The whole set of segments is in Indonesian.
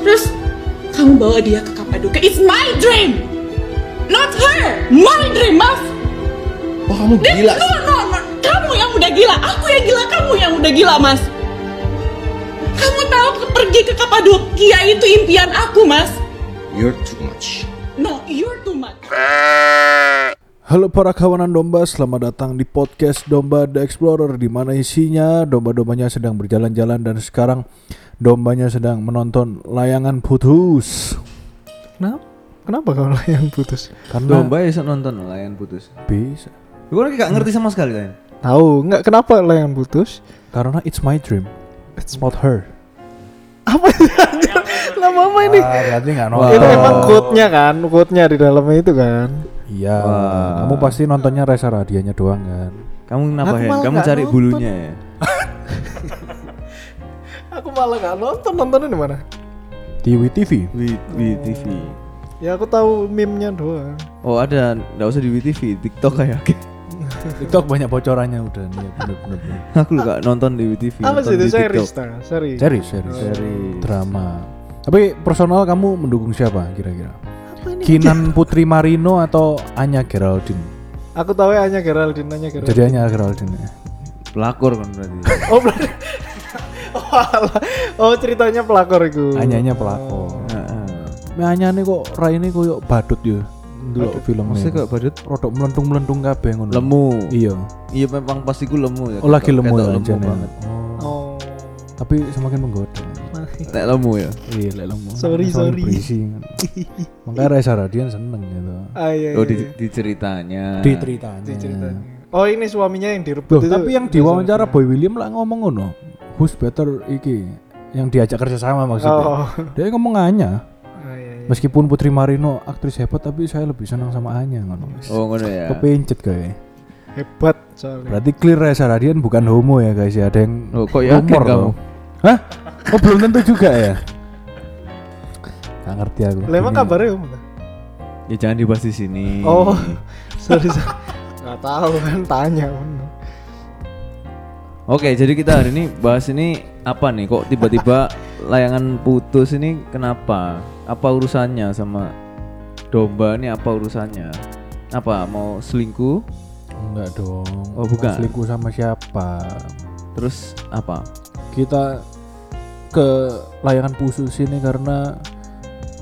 Terus kamu bawa dia ke Kapadokia. It's my dream, not her. My dream, Mas. Oh kamu This- gila No, sih. no, no. Kamu yang udah gila. Aku yang gila. Kamu yang udah gila, Mas. Kamu tahu ke- pergi ke Kapadokia itu impian aku, Mas. You're too much. No, you're too much. Halo para kawanan domba, selamat datang di podcast Domba The Explorer di mana isinya domba-dombanya sedang berjalan-jalan dan sekarang dombanya sedang menonton layangan putus. Kenapa? Kenapa kalau layan putus? Karena Domba bisa nonton layan putus. bisa. Gue lagi gak ngerti sama sekali layan. Tahu nggak kenapa layan putus? Karena it's my dream. It's not her. Apa lama apa ini? Ah, berarti nggak Itu emang quote-nya kan, quote-nya di dalamnya itu kan. Iya. Wah. Kamu pasti nontonnya Reza Radianya doang kan. Kamu kenapa Aku Hen? malah Kamu nggak cari nonton. bulunya ya? Aku malah nggak nonton nontonnya di mana? Di WTV. Di, di TV. Ya aku tahu meme-nya doang. Oh ada, gak usah di WTV, TikTok kayak oke. TikTok banyak bocorannya udah. Iya bener-bener. Aku gak nonton di WTV. Apa sih itu nonton di TikTok. series ta? Series. Serius, serius. Series. Drama. Tapi personal kamu mendukung siapa kira-kira? Kinan Putri Marino atau Anya Geraldine? Aku tahu ya hanya Geraldine hanya Geraldine. Jadi Anya Geraldine ya. Pelakor kan berarti. Oh, berarti. Oh, alah. oh ceritanya pelakor itu. Anyanya pelakor. Heeh. Anya ini kok Raine koyo badut ya. Dulu filmnya. Maksudnya kayak badut? rodok melendung-melendung kabeh ngono. Lemu. Iya. Iya memang pasti gue lemu ya. Oh lagi lemu Ketok ya lemu jane. banget. Oh, Oh. Tapi semakin menggoda. Nek lemu ya. Iya, lek lemu. Sorry, Semakin sorry. berisi. Makanya Reza Radian seneng gitu. Ah, iya, Oh iya, di, iya. di ceritanya. Di ceritanya. Di ceritanya. Oh ini suaminya yang Loh, direbut itu. tapi yang diwawancara Boy William lah ngomong ngono. Who's better iki yang diajak kerja sama maksudnya. Oh. Dia ngomong Anya. Ah, iya, iya. Meskipun Putri Marino aktris hebat tapi saya lebih senang sama Anya ngono. Oh ngono ya. Kepencet kayak. Hebat soalnya. Berarti clear Reza Radian bukan homo ya guys ya. Ada yang Oh, kok yakin rumor kamu? loh. Hah? Oh belum tentu juga ya. Gak ngerti aku. Lah emang Ini- kabarnya om? Ya jangan dibahas di sini. Oh, sorry, sorry. Gak tahu kan tanya. bener. Oke, jadi kita hari ini bahas ini apa nih? Kok tiba-tiba layangan putus ini kenapa? Apa urusannya sama domba ini apa urusannya? Apa mau selingkuh? Enggak dong. Oh, bukan. Mau Selingkuh sama siapa? Terus apa? kita ke layangan pusus ini karena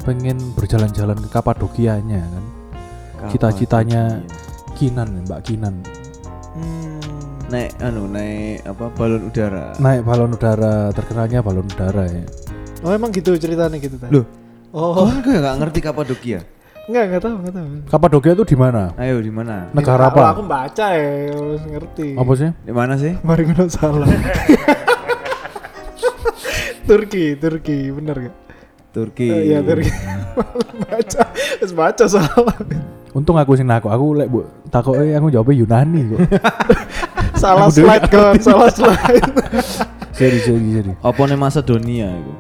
pengen berjalan-jalan ke Kapadokianya kan. Kapan Cita-citanya jadinya? Kinan, Mbak Kinan. Hmm. naik anu naik apa balon udara. Naik balon udara, terkenalnya balon udara ya. Oh emang gitu ceritanya gitu tadi. Loh, Oh, oh, gue nggak ngerti ya? Kapadokia. enggak enggak tahu, enggak tahu. Kapadokia itu di mana? Ayo di mana? Negara Kalau Aku apa? baca ya, harus ngerti. Apa sih? Di mana sih? Mari gue salah. Turki, Turki, bener gak? Turki. Eh, Iya Turki. baca, harus baca salah. Untung aku sih naku. Aku lek bu takoke aku jawabnya Yunani kok. salah slide kan, salah slide. Jadi jadi jadi. Apa nih Macedonia itu?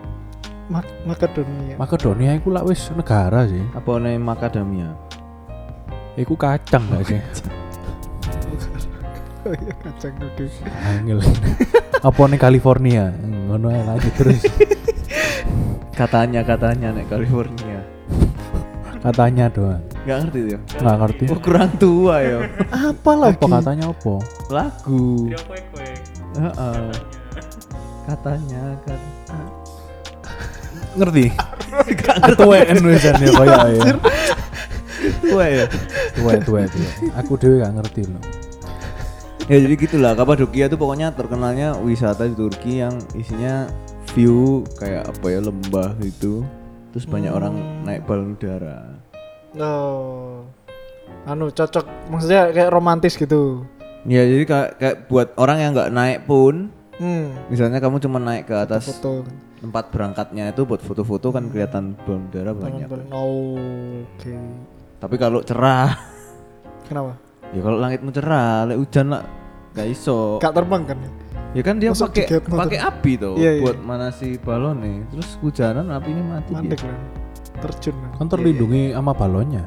Mak Makedonia. Makedonia iku lak wis negara sih. Apa nih Macadamia? Iku kacang gak sih? Oh iya, kacang oke. Angel. Apa nih California? Ngono ae lanjut terus. Katanya katanya nek California. Katanya doang. Nggak ngerti ya? Nggak ngerti. Oh kurang tua ya. Apa lagi? Apa katanya apa? Lagu. Heeh. Katanya kan. Ngerti. Tuween wisane koyo ya. Tua ya. Tuwe tuwe tuwe. Aku dhewe gak ngerti loh. ya jadi gitulah Kapadokia tuh pokoknya terkenalnya wisata di Turki yang isinya view kayak apa ya lembah gitu. Terus banyak orang naik balon udara. No. Oh. Anu cocok, maksudnya kayak romantis gitu. Ya jadi kayak, kayak buat orang yang nggak naik pun, Hmm. misalnya kamu cuma naik ke atas Foto. kan? tempat berangkatnya itu buat foto-foto kan kelihatan balon udara banyak. Nonton. Oh, Oke. Tapi kalau cerah, Kenapa? ya kalau langitmu cerah, lek hujan lah gak iso. Kak terbang kan? ya? Ya kan dia Masuk pakai tiket motor. pakai api tuh Iya, iya. buat manasi balon nih. Terus hujanan apinya mati. dia. Mandek kan? Terjun kan? Kan terlindungi sama balonnya.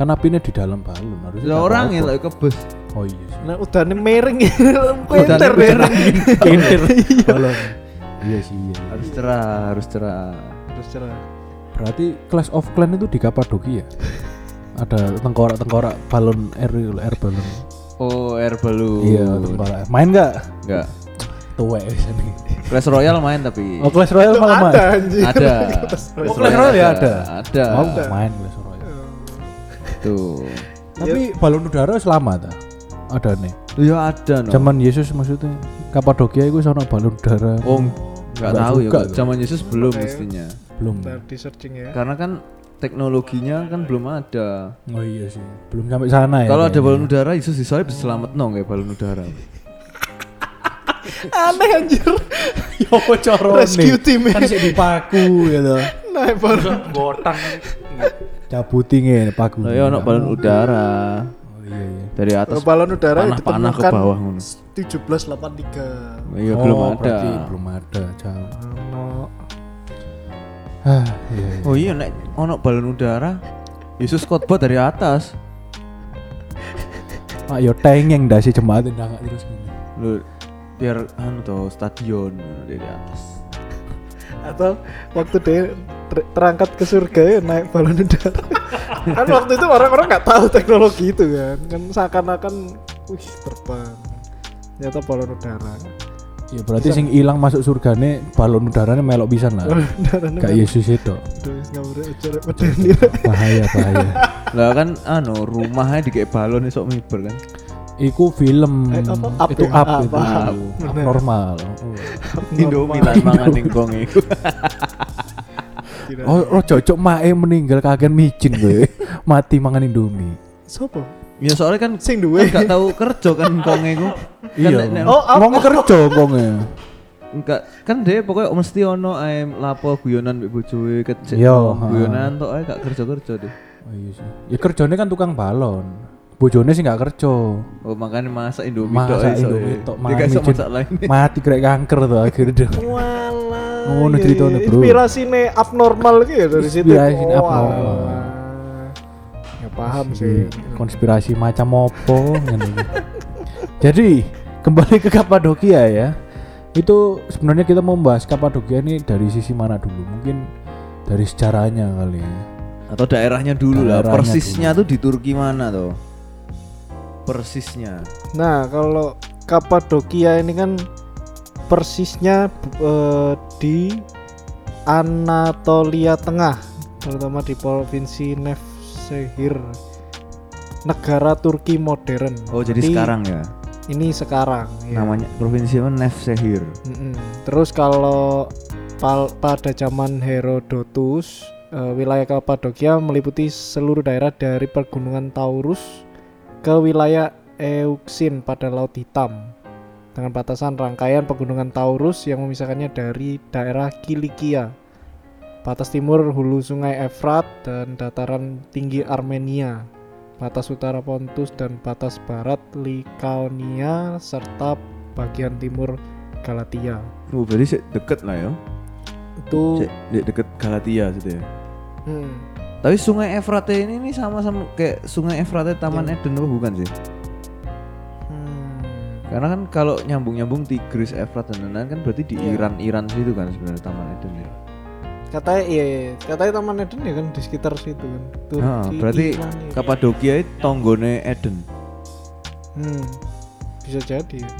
Kan apinya di dalam balon harusnya. Ya nggak orang ya apa-apa. lek kebes. Oh iya. sih. Nah udah nih mereng Hujanan Kuenter hujanan. mereng Kintir balon. Iya sih iya. harus cerah, harus cerah. terus cerah. Berarti Clash of Clan itu di Kapadokia. ya? Ada tengkorak-tengkorak balon air air balon. Oh, air balloon. Iya, tengkorak. Main nggak? Enggak. Tuwek bisa nih. Clash Royale main tapi Oh, Clash Royale malah Ada main. anjir. ya? ada. Oh, Clash Royale ya ada. Ada. Mau nggak main Clash Iya. Royale. Tuh. Tapi balon udara selamat ah. Ada nih. Iya ada no. Zaman Yesus maksudnya. Kapadokia itu sono balon udara. Oh, enggak Nggak tahu ya. juga. Kak. Zaman Yesus belum mestinya. belum. Ntar di searching ya. Karena kan teknologinya kan belum ada. Oh iya sih. Belum sampai sana ya. Kalau ada kayaknya. balon udara Yesus disalib selamat no kayak balon udara. Aneh anjir. Yo coro Rescue team. Kan sih dipaku gitu. Naik baru. Cabuti ngene paku. Lah ya ono balon udara Oh iya iya. dari atas Balon udara panah panah ke ditemukan bawah ngono. 1783. Iya Oh, belum ada. berarti Belum ada, jauh. Ano. Ah, iya, iya. Oh iya nek ono balon udara Yesus khotbah dari atas. Mak yo tengeng dah si jemaat ndak nggak terus ngene. Lu biar anu tuh stadion dari atas. Atau waktu dia ter- terangkat ke surga ya naik balon udara. kan waktu itu orang-orang nggak tahu teknologi itu kan. Kan seakan-akan wih terbang. Ternyata balon udara. Ya berarti sing ilang masuk surgane balon udaranya melok pisan lah. Balon udara nih Kayak Yesus itu. terus nggak boleh cerita medeni. Bahaya, bahaya. Lah kan anu rumahnya di kayak balon esok miber kan. Iku film Eh, apa? Up itu ya? up Up, itu up. Bener. normal. Oh. Indomie lan mangan ning gong iku. Kira. Oh, oh cocok mae meninggal kagen micin gue. Mati mangan Indomie. Sopo? Ya soalnya kan Sing duwe. enggak tahu kerja kan gong iku. Iya. Oh, Oh, up. Wong e. kerja konge. enggak kan deh pokoknya mesti ono ae lapo guyonan mbek bojoe kecil. Yo, ha. guyonan tok ae gak kerja-kerja deh. Oh iya sih. Ya kerjanya kan tukang balon. Bojone sih nggak kerja. Oh makanya masak Indomie tok Masak esok ya. Indomie tok Dia gak mangan iso micin. masak lain. Mati krek kanker tuh akhirnya. Walah. iya, Ngono ceritanya, Oh, Bro. Inspirasinya abnormal gitu ya dari situ. Inspirasinya abnormal. walah. Ya paham sih. konspirasi macam opo ngene iki. jadi kembali ke Kapadokia ya itu sebenarnya kita mau membahas Kapadokia ini dari sisi mana dulu mungkin dari sejarahnya kali ya Atau daerahnya dulu lah. Daerahnya Persisnya tuh di Turki mana tuh? Persisnya. Nah, kalau Kapadokia ini kan persisnya bu- eh, di Anatolia Tengah, terutama di provinsi Nevşehir. Negara Turki modern. Oh jadi Ini- sekarang ya. Ini sekarang. ya. Namanya provinsi apa? Nefsehir. Mm-mm. Terus kalau pal- pada zaman Herodotus, eh, wilayah Kapadokia meliputi seluruh daerah dari pergunungan Taurus ke wilayah Euxin pada Laut Hitam dengan batasan rangkaian pegunungan Taurus yang memisahkannya dari daerah Kilikia. Batas timur hulu sungai Efrat dan dataran tinggi Armenia. Batas utara Pontus dan batas barat Likaonia serta bagian timur Galatia. Oh berarti sih deket lah ya. Itu Cek, de- deket Galatia gitu ya. hmm, Tapi sungai Efrate ini nih sama-sama kayak sungai Efrate Taman Eden apa bukan sih? hmm, Karena kan kalau nyambung-nyambung Tigris, Efrat dan lain-lain kan berarti di Iya. Iran-Iran situ kan sebenarnya Taman Eden ya. katanya iya, iya. katanya Taman Eden ya kan di sekitar situ kan. Turki, Nah, berarti Iran, iya. Kapadokia itu tonggone Eden. Hmm, bisa jadi. ya.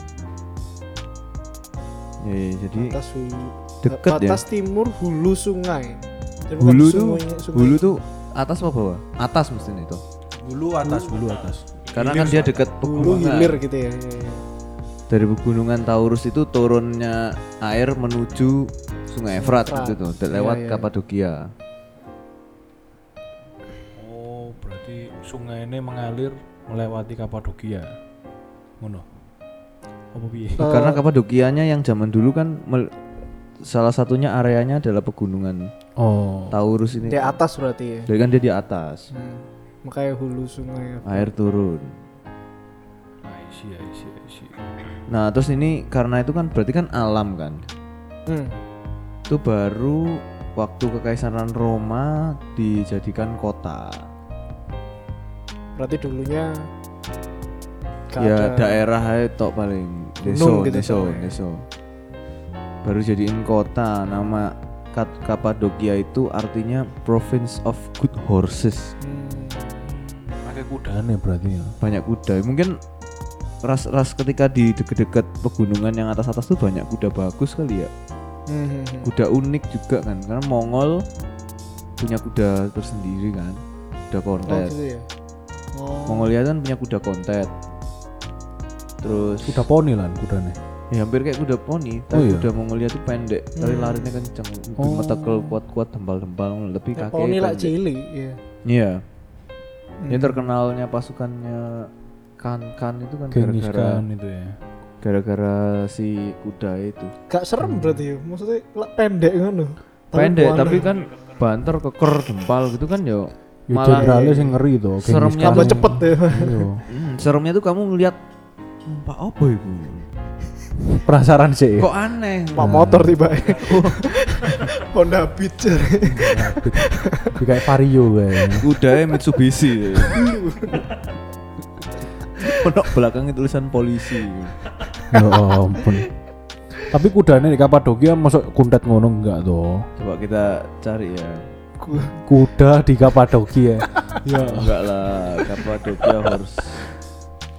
Ya, ya, jadi Batas hulu, deket ya. batas timur hulu sungai. Jadi bukan Hulu tuh, kan sungai- sungai. hulu tuh atas apa bawah? Atas mestinya itu. dulu atas dulu atas Karena kan dia deket hulu hilir pegunungan. gitu ya. iya, iya. Dari pegunungan Taurus itu turunnya air menuju Sungai Efrat Efrat. gitu Iya, tuh, lewat iya. Kapadokia. oh berarti sungai ini mengalir melewati Kapadokia ngono apa piye Eh, Karena Kapadokianya yang zaman dulu kan mel- salah satunya areanya adalah pegunungan oh Taurus ini. di atas berarti ya. Jadi kan dia di atas, Hmm, makanya hulu sungai. air turun. I see, I see, I see. Nah, terus ini karena itu kan berarti kan alam kan. Hmm, Itu baru waktu kekaisaran Roma dijadikan kota. berarti dulunya gak ya ada- daerah itu paling deso, Gunung gitu deso, soalnya. deso. Baru jadiin kota nama Kat- Kapadokia itu artinya province of good horses. Pakai kudane berarti ya. Banyak kuda. Mungkin ras-ras ketika di deket-deket pegunungan yang atas-atas tuh banyak kuda bagus kali ya. Hmm, Kuda unik juga kan karena Mongol punya kuda tersendiri kan. Kuda Oh kontet. gitu ya. Oh. Mongolia kan punya kuda kontet. Terus Kuda poni lan kudane. Ya hampir kayak kuda poni, tapi iya? kuda Mongolia tuh pendek, tapi larinya kenceng. Oh. kuat-kuat, dembal-dembal, lebih kaki. Poni lah pendek. cilik ya. Iya. Yang terkenalnya pasukannya Kan-Kan itu kan Genghis gara-gara Khan itu ya. gara-gara si kuda itu. Gak serem berarti ya. Maksudnya lah pendek ngono. Tapi Hmm. pendek, kuat. tapi kan banter keker dempal gitu kan yo. Ya Malah iya. jenderalnya sing ngeri to. Genghis seremnya Khan. tambah cepet ya. Iya. Hmm, seremnya tuh kamu melihat Pak apa itu? Penasaran sih. Kok aneh? Pak motor Hmm. tiba Oh. Honda Beat Jadi Nah, kayak vario kayaknya. Kuda Mitsubishi. Penok belakangnya tulisan polisi. Ya ampun. Tapi kudane di Kapadokia masuk kuntet ngono enggak toh? Coba kita cari ya. Kuda di Kapadokia. ya. Enggak lah, Kapadokia horse.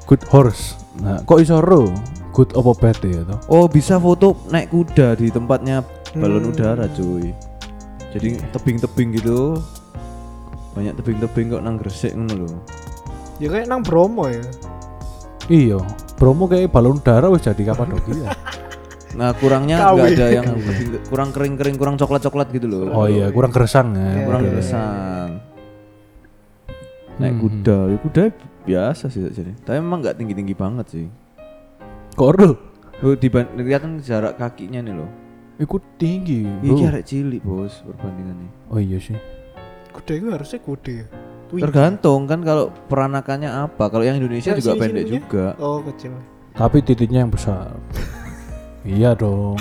Good horse. Nah, kok iso ro? Good apa bad ya toh? Oh, bisa foto naik kuda di tempatnya balon Hmm. udara, cuy. Jadi tebing-tebing gitu. Banyak tebing-tebing kok nang Gresik ngono lho. Ya kayak nang Bromo ya. Iya. Bromo kayak balon udara wis jadi Iya. Kapadokia. Nah, kurangnya Kawi. enggak ada yang tebing- kurang kering-kering, kurang coklat-coklat gitu loh. Oh iya, kurang gersang ya. kurang modelnya. gersang. Naik kuda, ya kuda biasa sih jadi. Tapi emang nggak tinggi-tinggi banget sih. Kok ro? Lo diban- kelihatan jarak kakinya nih loh. Iku tinggi, Ini Iya, bro. Iya, jarak cilik bos perbandingannya. Oh iya sih. Kuda itu harusnya kuda ya. Wih. Iya, Tergantung kan kalau peranakannya apa. Kalau yang Indonesia Sini, juga sini, pendek sini. juga. Oh kecil. Tapi titiknya yang besar. iya dong.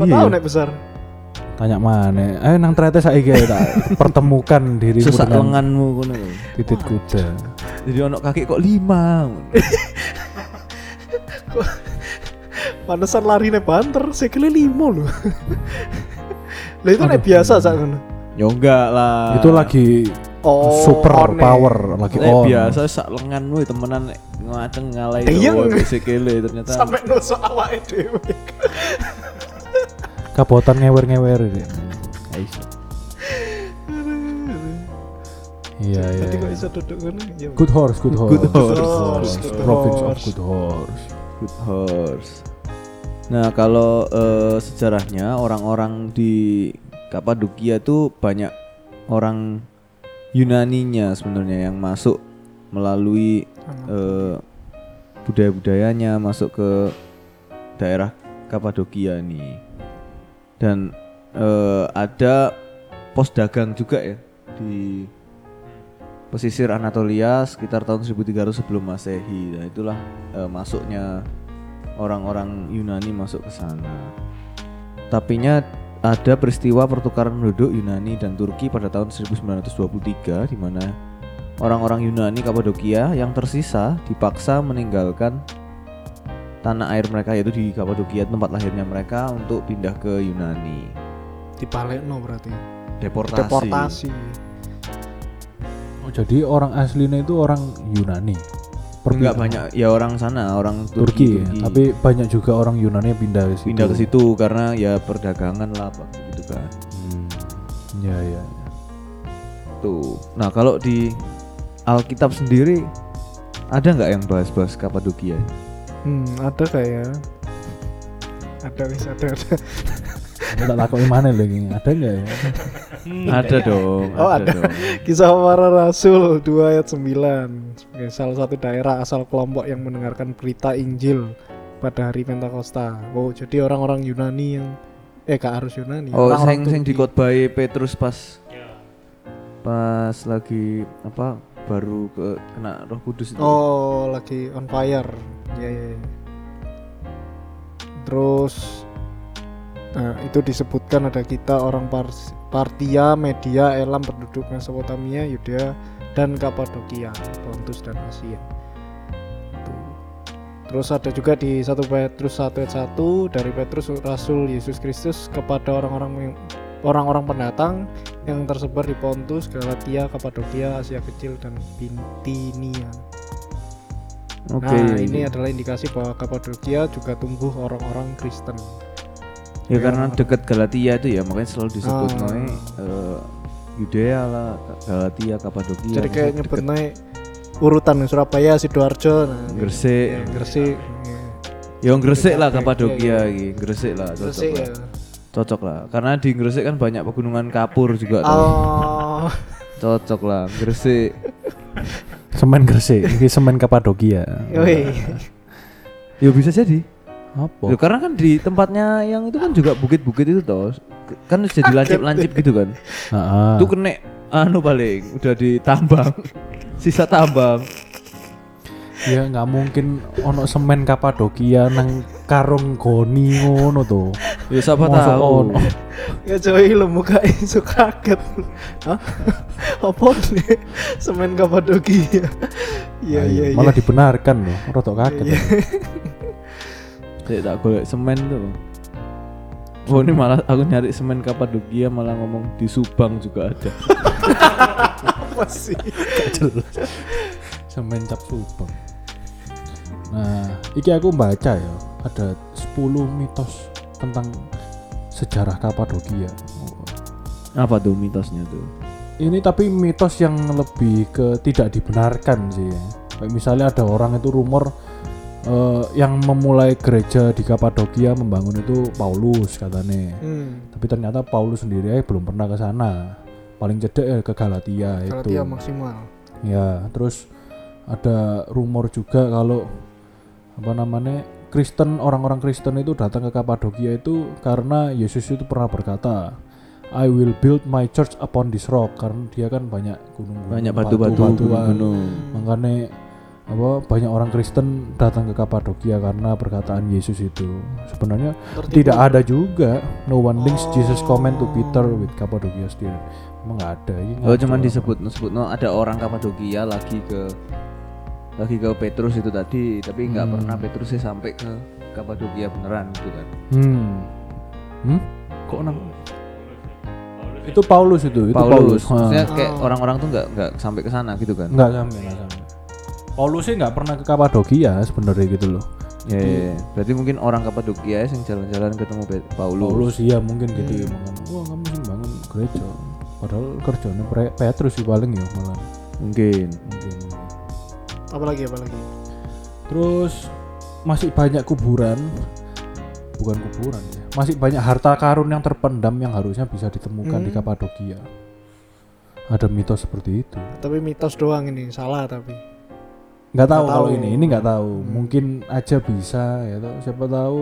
Iya, Kok tahu naik besar? Tanya mana? Eh nang ternyata saya tak pertemukan dirimu Sesak dengan lenganmu kono lho. titik kuda. Jadi ono kaki kok lima. Pantesan lari naik banter, sekali limo loh. Lah itu naik biasa sak ngono. ya enggak lah. Itu lagi Ah. Oh, super one. power lagi Nek on. biasa sak lenganmu temenan nek ngaceng ngalai Iya. doang, bisa kele ternyata. Sampai nusuk awake dhewe. Kabotan ngewer-ngewer gitu. Iya iya. Nanti kok iya. bisa duduk ngono ya. Good horse, good horse. Eh. Good horse. Good horse. Province of good horse. Good horse. Nah, kalau eh, sejarahnya orang-orang di Kapadokia tuh banyak orang Yunaninya sebenarnya yang masuk melalui eh, budaya-budayanya masuk ke daerah Kapadokia nih. Dan eh, ada pos dagang juga ya di pesisir Anatolia sekitar tahun 1300 sebelum Masehi. Nah, itulah eh, masuknya orang-orang Yunani masuk ke sana. Tapinya ada peristiwa pertukaran penduduk Yunani dan Turki pada tahun 1923 di mana orang-orang Yunani Kapadokia yang tersisa dipaksa meninggalkan tanah air mereka yaitu di Kapadokia tempat lahirnya mereka untuk pindah ke Yunani. Dipalekno berarti. Deportasi. Deportasi. Oh, jadi orang aslinya itu orang Yunani. Enggak Perpindahan. banyak ya orang sana, orang Turki, ya, Turki. ya. Turki. tapi banyak juga orang Yunani yang pindah ke situ. pindah ke situ karena ya perdagangan lah apa gitu kan Hmm. Ya ya. tuh nah kalau di Alkitab sendiri ada nggak yang bahas-bahas Kapadokia Hmm, ada kayak ada wis ada ada. Aku tak takut mana lagi? Ada nggak ya? ada dong Oh, Hmm. ada, ada. dong Kisah para rasul 2 ayat 9 sebagai salah satu daerah asal kelompok yang mendengarkan berita Injil pada hari Pentakosta. Oh, jadi orang-orang Yunani yang eh gak harus Yunani. oh orang-orang sing sing Turki. Ya. dikotbahi Petrus pas pas lagi apa baru ke kena Roh Kudus itu Oh, lagi on fire. Ya ya. ya. Terus nah, itu disebutkan ada kita orang Pars- Partia, Media, Elam penduduk Mesopotamia, Yudea dan Kapadokia, Pontus dan Asia. Tuh. Terus ada juga di 1 Petrus 1 ayat 1 dari Petrus Rasul Yesus Kristus kepada orang-orang yang- orang-orang pendatang yang tersebar di Pontus, Galatia, Kapadokia, Asia Kecil dan Bitinia. Oke. Nah, ini adalah indikasi bahwa Kapadokia juga tumbuh orang-orang Kristen. Ya karena dekat Galatia itu ya makanya selalu disebut Ah. noe eh, Yudea lah, Galatia, Kapadokia. Jadi kayak maksudnya nyebut deket naik urutan Surabaya, Sidoarjo, nah, ini. Gresik. Ya, Gresik. ya. Ya Gresik lah Dekat, Kapadokia iya, iya. iki, Gresik lah cocok. Gresik lah. ya. Cocok lah. Karena di Gresik kan banyak pegunungan kapur juga tuh. Oh. Cocok lah Gresik. Semen Gresik, iki semen Kapadokia. Yoi. ya bisa jadi. Apa? Loh, karena kan di tempatnya yang itu kan juga bukit-bukit itu toh. Kan jadi lancip-lancip gitu kan. Heeh. Itu kena anu paling udah ditambang. Sisa tambang. Ya nggak mungkin ono semen Kapadokia nang karung goni ngono to. Ya siapa Mosok tahu. ono. Ya coy lu muka isu kaget. Hah? Apa nih? Semen Kapadokia. Iya iya iya. Malah dibenarkan loh, rotok kaget. Iya. Saya tak golek semen tuh. Oh ini malah aku nyari semen Kapadokia malah ngomong di Subang juga ada. Apa sih? semen cap subang. Nah, iki aku baca ya, ada 10 mitos tentang sejarah Kapadokia. Apa tuh mitosnya tuh? Ini tapi mitos yang lebih ke tidak dibenarkan sih. Ya. Kayak misalnya ada orang itu rumor eh, yang memulai gereja di Kapadokia membangun itu Paulus katanya. Hmm. Tapi ternyata Paulus sendiri aja belum pernah ke sana. Paling cedek ya ke Galatia Kalau itu. dia maksimal. Ya, terus ada rumor juga kalau apa namanya Kristen orang-orang Kristen itu datang ke Kapadokia itu karena Yesus itu pernah berkata I will build my church upon this rock karena dia kan banyak gunung Banyak batu-batu gunung-gunung. makanya apa banyak orang Kristen datang ke Kapadokia karena perkataan Yesus itu sebenarnya Tertipu. tidak ada juga no one links Jesus comment to Peter with Kapadokia still emang nggak ada ini Oh ngaco cuman orang. disebut disebut no, ada orang Kapadokia lagi ke lagi ke Petrus itu tadi tapi nggak pernah Petrusnya sampai ke Kapadokia beneran gitu kan. Hmm. Hmm? Kok enam? Itu Paulus itu, itu Paulus, Ah. Paulus. maksudnya kayak orang-orang tuh nggak nggak sampai ke sana gitu kan. Enggak sampai, enggak sampai. Paulus sih enggak pernah ke Kapadokia sebenarnya gitu loh. Ya, ya, ya. berarti mungkin orang Kapadokia yang jalan-jalan ketemu Pe- Paulus. Paulus iya mungkin gitu ya mungkin. Wah, kamu sih bangun gereja. Padahal kerjanya Pre- Petrus sih paling ya malah. Mungkin. Mungkin. Apalagi apalagi. Terus masih banyak kuburan bukan kuburan ya. Masih banyak harta karun yang terpendam yang harusnya bisa ditemukan di Kapadokia. Ada mitos seperti itu. Tapi mitos doang ini salah tapi. nggak tahu kalau tahu. ini ini nggak tahu mungkin aja bisa ya toh. siapa tahu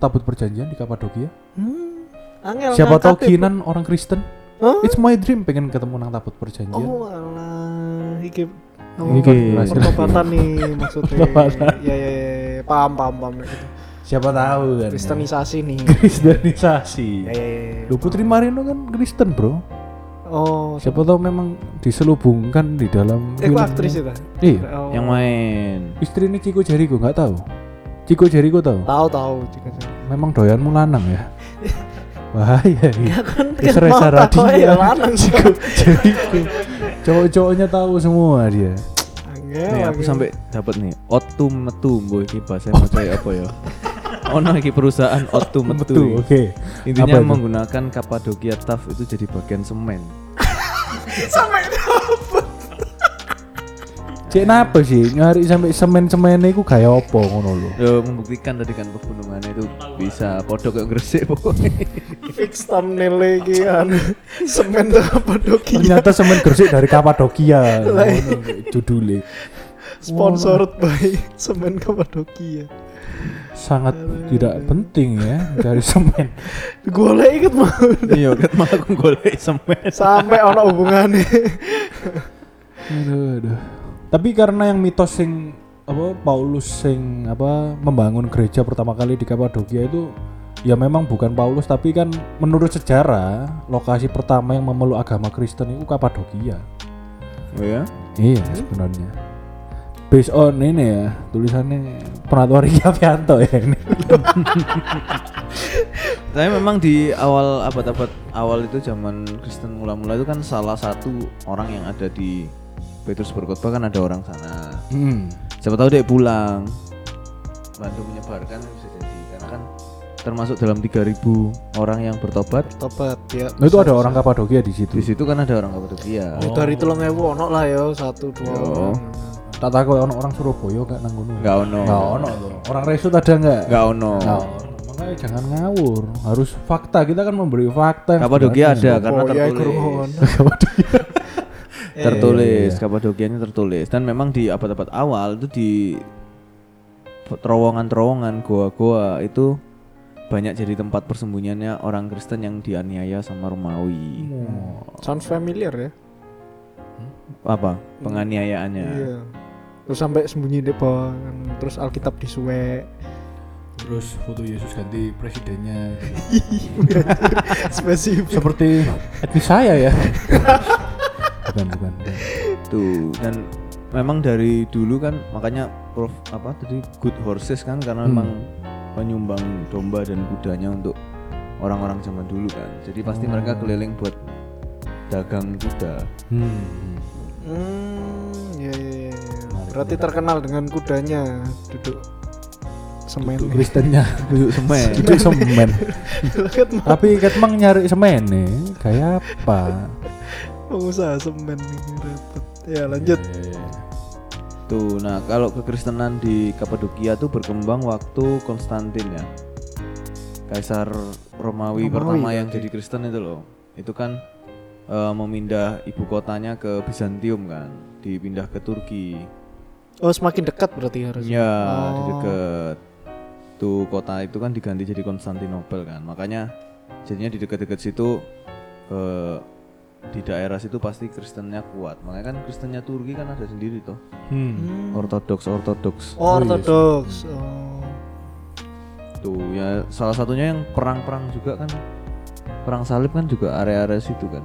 tabut perjanjian di Kapadokia Hmm. Angel siapa tahu ngangkatnya, Kinan orang Kristen Hah? it's my dream pengen ketemu nang tabut Bro. Iya. perjanjian Oh alah iki Iki. Oh, pertobatan nih maksudnya. Iya iya iya paham paham paham gitu. siapa tahu kan ya. Kristenisasi nih. Kristenisasi Ya ya ya, ya. Lu Putri Marino kan Kristen bro Oh, siapa tahu memang diselubungkan di dalam eh, kok film. aktris itu. iya Oh. Yang main. istri ini Ciko Jericho nggak tahu Ciko Jericho tahu Tahu tahu. Cika. memang doyanmu lanang ya bahaya ya Kan Terus kan Reza mau tak kok Radian. ya lanang sih. jadi cowok-cowoknya tahu semua dia Angel, Nih aku angel. sampai dapat nih Otum metu boy iki bahasa mau kayak apa ya? Ono iki perusahaan Otum iya. metu. betul oke Intinya Apa itu? menggunakan Kapadokia Taf itu jadi bagian semen. Cek napa sih nyari sampai semen-semen iku gaya apa ngono lho. Yo, membuktikan tadi kan pegunungannya itu bisa podo kayak gresik pokoknya. fix thumbnail lagi an anu. semen tuh apa doki Ternyata semen Gresik dari Kapadokia. ngono kayak judulnya sponsored by semen ya. Kapadokia sangat tidak penting ya dari semen. gue lagi ikut mau Iya, ket malah aku golek semen. sampai ono hubungannya Aduh, aduh. Tapi karena yang mitos sing apa Paulus sing apa membangun gereja pertama kali di Kapadokia itu ya memang bukan Paulus tapi kan menurut sejarah lokasi pertama yang memeluk agama Kristen itu Kapadokia. Oh ya. Iya sebenarnya. Iya, based on ini ya tulisannya Penatuan Riki Avianto ya ini. Tapi memang di awal abad-abad awal itu zaman Kristen mula-mula itu kan salah satu orang yang ada di Petrus berkhotbah kan ada orang sana. Hmm. Siapa tahu dia pulang bantu menyebarkan bisa jadi karena kan termasuk dalam 3000 orang yang bertobat Topat ya. Nah, itu ada orang Kapadokia di situ. di situ kan ada orang Kapadokia. Oh. Dari telung ewu ono lah ya satu dua. Oh, orang. Tak tahu ono orang Surabaya gak nang ngono. Enggak ono. Nggak ono tuh. Orang resut ada nggak? Enggak ono. Nggak ono. Nah, Makanya jangan ngawur. Harus fakta. Kita kan memberi fakta. yang Kapadokia ada sebenarnya. karena Oh, iya, tertulis. kurang. tertulis Kapadokianya tertulis dan memang di abad-abad awal itu di terowongan-terowongan goa-goa itu banyak jadi tempat persembunyiannya orang Kristen yang dianiaya sama Romawi Oh, Sounds familiar ya. apa penganiayaannya Iya. Terus sampai sembunyi di bawah, kan. terus Alkitab disuwek. Terus foto Yesus ganti presidennya. Spesifik. Seperti etnis saya ya. bukan, bukan, bukan. tuh dan memang dari dulu kan makanya prof apa tadi good horses kan karena memang penyumbang domba dan kudanya untuk orang-orang zaman dulu kan jadi pasti mereka keliling buat dagang kuda Hmm. Hmm, ya, ya, ya. Berarti terkenal dengan kudanya duduk semen. Itu Kristennya. duduk semen Itu semen. Iya, Lihat mau Tapi Ketmang nyari semen nih. Kayak apa? pengusaha semen ini repot. Ya lanjut. Tuh, nah kalau kekristenan di Kapadokia tuh berkembang waktu Konstantin ya. Kaisar Romawi, pertama yang jadi Kristen itu loh. Itu kan eh, memindah ibu kotanya ke Bizantium kan, dipindah ke Turki. Oh semakin dekat berarti Oh. harus. Ya, Oh. di deket tuh kota itu kan diganti jadi Konstantinopel kan. Makanya jadinya di deket-deket situ eh, di daerah situ pasti Kristennya kuat. Makanya kan Kristennya Turki kan ada sendiri tuh. Hmm. Ortodoks, ortodoks. Oh, Ortodoks. Oh. Tuh ya salah satunya yang perang-perang juga kan perang salib kan juga area-area situ kan.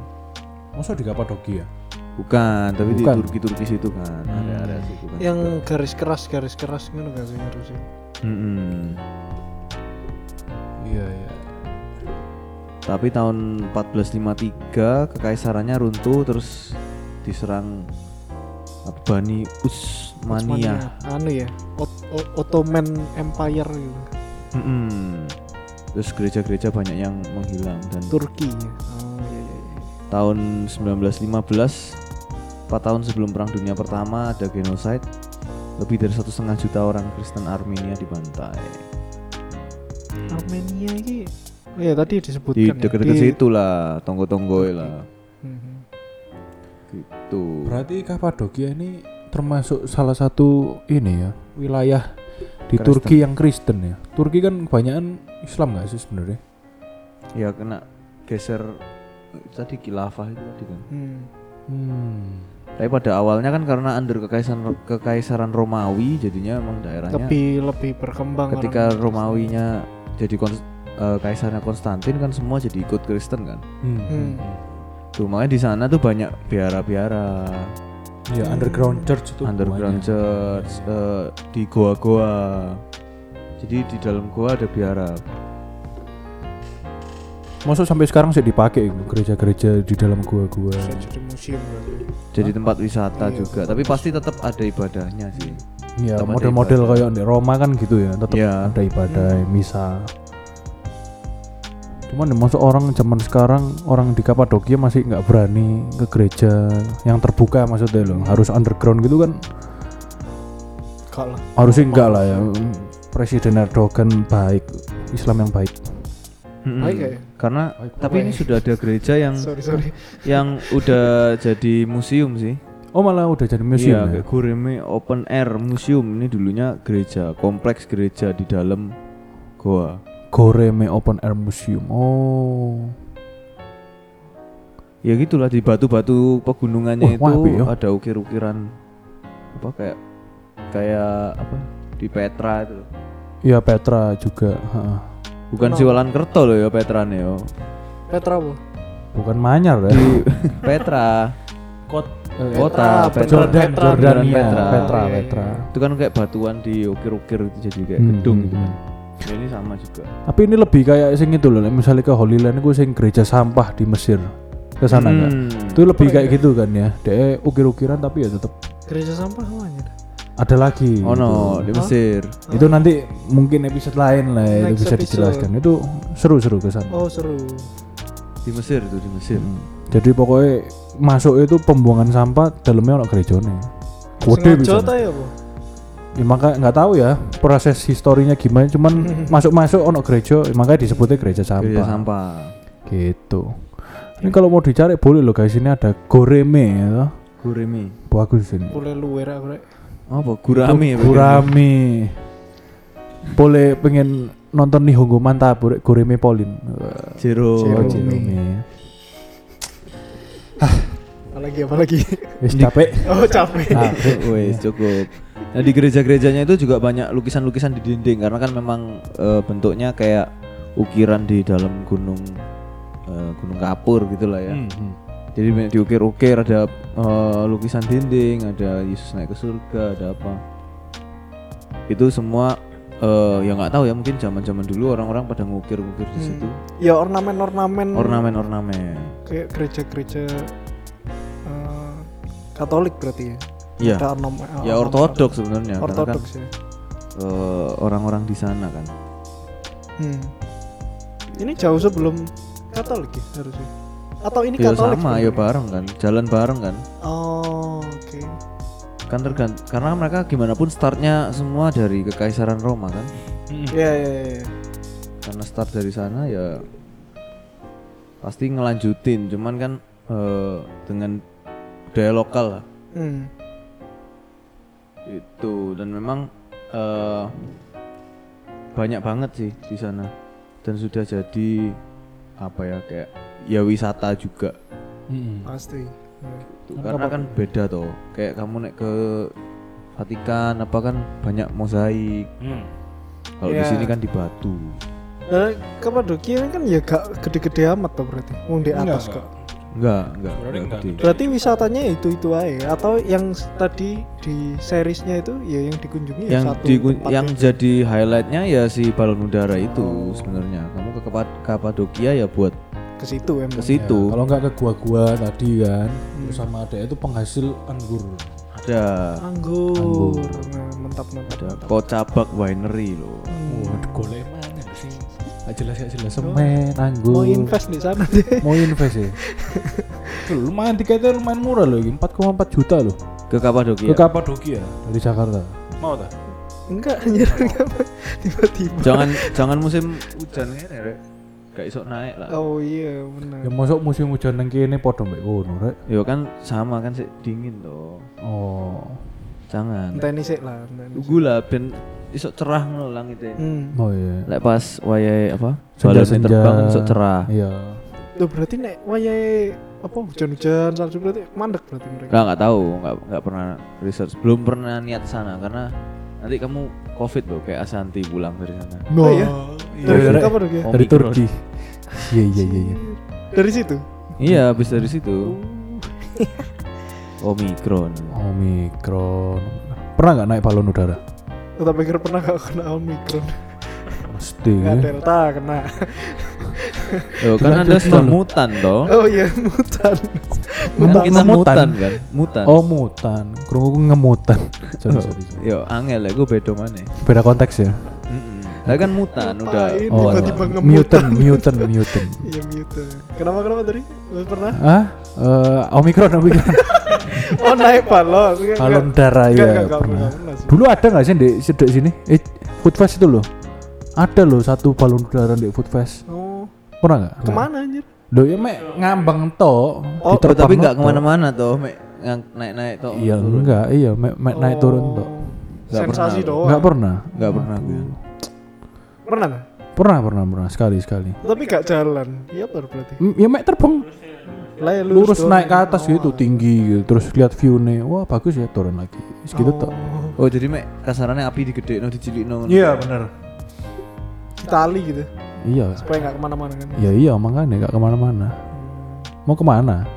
Masa di Kapadokia? Bukan, tapi Bukan. Hmm. Ya. di Turki-Turki situ kan, area-area situ kan. Yang garis keras garis keras ngono gak sih harusnya. Mm-mm. Iya, iya. Tapi tahun 1453 kekaisarannya runtuh terus diserang apa, Bani Utsmania. Anu ya, Ot- O- Ottoman Empire gitu. Mm-mm. Terus gereja-gereja banyak yang menghilang dan Turki. ya. Oh iya iya. iya. tahun 1915 4 tahun sebelum perang dunia pertama ada genosida lebih dari satu setengah juta orang Kristen Armenia dibantai Armenia ini Oh ya tadi disebutkan di ya, deket-deket di- situ lah tonggo-tonggo lah Mhm. gitu Berarti Kapadokia ini termasuk salah satu ini ya wilayah di Kristen. Turki yang Kristen ya. Turki kan kebanyakan Islam nggak sih sebenarnya? ya kena geser tadi kilafah itu tadi kan Hmm. Hmm. tapi pada awalnya kan karena under kekaisaran kekaisaran Romawi jadinya emang daerahnya Lebih lebih berkembang ketika orang- Romawinya jadi kons- eh, kaisarnya Konstantin kan semua jadi ikut Kristen kan Hmm. Hmm. Tuh makanya di sana tuh banyak biara-biara, Ya underground church itu. Hmm. underground banyak. church, eh, di goa-goa. Jadi di dalam goa ada biara. Masuk sampai sekarang sih dipakai itu, gereja-gereja di dalam gua-gua. Bisa jadi museum berarti. Jadi tempat Iya, wisata juga, tapi pasti tetap ada ibadahnya sih. Ya Tempat model-model kayak di Roma kan gitu ya, tetap Ya. ada ibadah misa. Cuman ya, masuk orang zaman sekarang orang di Kapadokia masih nggak berani ke gereja yang terbuka maksudnya loh, Hmm. harus underground gitu kan Enggak lah. Hmm. harusnya enggak lah ya Presiden Erdogan baik Islam yang baik Mm-mm. Baik ya? Karena tapi ini sudah ada gereja yang Sorry sorry. yang udah jadi museum sih. oh malah udah jadi museum iya, ya? kayak Gureme Open Air Museum ini dulunya gereja, kompleks gereja di dalam goa. Goreme Open Air Museum oh ya gitulah di batu-batu Wah, pegunungannya itu wapi ya. ada ukir-ukiran apa kayak kayak apa di Petra itu loh. iya Petra juga ha. bukan Kenapa? siwalan kerto loh ya Petra nih yo Petra bu. Iya, bukan Manyar ya Petra kot Eh, Petra, Kota, Petra. bener, Jordan, Petra. Jordania, Petra. Petra, Petra. Iya, iya. Itu kan kayak batuan diukir-ukir itu jadi kayak Hmm, gedung hmm, gitu kan. hmm. Gitu. Ya, ini sama juga. Tapi ini lebih kayak sing itu loh, like misalnya ke Holy Land itu sing gereja sampah di Mesir. Ke sana enggak? Hmm. Itu lebih kayak gitu kan ya. Dia ukir-ukiran tapi ya tetap Gereja sampah apa anjir? ada lagi. gitu. Oh no, di Hah? Mesir. Itu, Itu nanti mungkin episode lain lah ya, itu Next bisa episode. dijelaskan. Itu seru-seru ke sana. Oh seru. Di Mesir tuh, di Mesir. Jadi pokoknya masuk itu pembuangan sampah dalamnya ono gerejone. Gede Sengaja bisa. ta ya bu? Ya, maka nggak tahu ya proses historinya gimana. Cuman masuk-masuk ono gereja, ya, makanya disebutnya gereja Gereja sampah. sampah. Gitu. Ini kalau mau dicari boleh loh guys. Ini ada goreme ya. Gurami. Bagus ini. Boleh luwer aku rek. Apa? Gurami. ya, Pak? Gurame. Boleh pengen nonton nih Hongo mantap Gureme Polin. Oh, Jero. Jerome. Jerome. Apalagi apalagi. Wis capek. oh capek. Ah, wes cukup. Nah di gereja-gerejanya itu juga banyak lukisan-lukisan di dinding karena kan memang eh, bentuknya kayak ukiran di dalam gunung eh, gunung kapur gitulah ya. Jadi banyak diukir-ukir ada eh, lukisan dinding, ada Yesus naik ke surga, ada apa. Itu semua eh, ya nggak tahu ya mungkin zaman-zaman dulu orang-orang pada ngukir-ngukir di situ Ya ornamen-ornamen. ornamen-ornamen. Kayak gereja-gereja eh, Katolik berarti ya. Iya. Ada ornamen. Ya ortodoks sebenarnya karena kan, Ortodoks ya. eh, orang-orang di sana kan. Hmm. Ini jauh sebelum Katolik ya harusnya. Atau ini Ya Katolik? sama, sebenarnya? ya bareng kan, jalan bareng kan. Oh, oke. Kan tergant karena mereka gimana pun startnya semua dari kekaisaran Roma kan. Ya, ya, ya. Karena start dari sana ya pasti ngelanjutin, cuman kan eh, dengan budaya lokal lah Hmm. itu dan memang eh, banyak banget sih di sana dan sudah jadi apa ya kayak ya wisata juga Pasti. Hmm. Tuh, karena kan beda toh kayak kamu naik ke Vatikan apa kan banyak mozaik kalau di Iya. sini kan di batu Nah, Kapadokia kan ya gak gede-gede amat tuh berarti. Wong di atas kok. enggak Sebenarnya enggak enggak enggak gede. Berarti wisatanya itu-itu aja ya? atau yang s- tadi di seriesnya itu ya yang dikunjungi ya yang satu di tempat yang itu. jadi highlightnya ya si balon udara itu sebenarnya kamu ke Kapa- Kapadokia ya buat ke situ emang. ke situ Kalau nggak ke gua-gua tadi kan, terus sama ada itu penghasil anggur. ada Anggur. Nah, Mantap mantap. ada mantap. Kocabak Winery loh Waduh, golek mana sih? Gak jelas gak jelas. Hmm. Oh, Semen anggur. Mau invest di sana deh. Mau invest ya. Tuh, lumayan tiketnya lumayan murah loh, ini 4,4 juta loh. ke Kapadokia Ke Kapadokia Iya. dari Jakarta. Mau tak? Enggak anjir. enggak. Tiba-tiba. jangan jangan musim hujan kan ya Rek? gak iso naik lah Oh Ya iya benar. masuk musim hujan nang kene padha mbek kono, Rek. ya kan sama kan sih dingin toh Oh. jangan Enteni sik lah. enteni sik. Tunggu lah ben isok cerah ngono langitnya. Hmm. Oh iya. Lek pas wayahe apa? Senja-senja. Balonnya terbang kan isok cerah. Iya. Tuh berarti nek wayahe apa hujan-hujan salju berarti mandek berarti mereka. Enggak enggak tahu, enggak enggak pernah research. Belum pernah niat sana karena nanti kamu covid loh kayak Asanti pulang dari sana. No. Oh, iya. Dari Iya, Rek. Kapadokia? Dari Omikron. Turki. Iya iya iya iya. Dari situ. Iya, habis dari situ. Omikron. Omikron. Pernah nggak naik balon udara? Oh, Tak pikir pernah gak kena Omikron. Pasti. Nggak Delta kena. Loh, kan Anda sudah mutan toh. Oh iya, mutan. Kan Mutan, kita Oh, mutan. mutan kan? Mutan. Oh mutan. Kerungku ngemutan. Sorry, sorry, sorry. Yo, angel ya, gue bedo mana? Beda konteks ya. Mm-mm. Lah kan mutan udah. Ngapain Oh, Tiba-tiba iya. ngemutan. mutant, mutant, mutant. Iya, mutan. Kenapa kenapa tadi? Lu pernah? Ah, eh, Omikron, Omikron. Oh, naik balon. Nggak, balon nggak. darah Nggak, ya. nggak, nggak, pernah. nggak pernah sih. Dulu ada nggak sih di sedek sini? Eh, food fest itu loh. Ada loh satu balon udara di food fest. Oh, Pernah nggak? kemana anjir? Loh ya mek ngambang to. Oh, tapi nggak kemana-mana toh, Mek. Ngang- naik-naik toh. Iya enggak, iya mek, mek naik turun Oh. to. Nggak Oh, Sensasi pernah. doang. Enggak pernah. Enggak pernah gue. Pernah nggak? Pernah, pernah, pernah sekali sekali. Tapi gak jalan. Iya, baru berarti. M- Ya mek terbang Lah, ya, lurus doang. naik ke atas gitu tinggi gitu. Terus lihat view-nya. Wah, bagus ya turun lagi. Segitu toh. Oh jadi mek kasarannya api digede no dicilik no. Iya. benar. Itali gitu. Iya. Supaya gak kemana-mana kan. Ya iya makanya nggak kemana-mana. Mau kemana?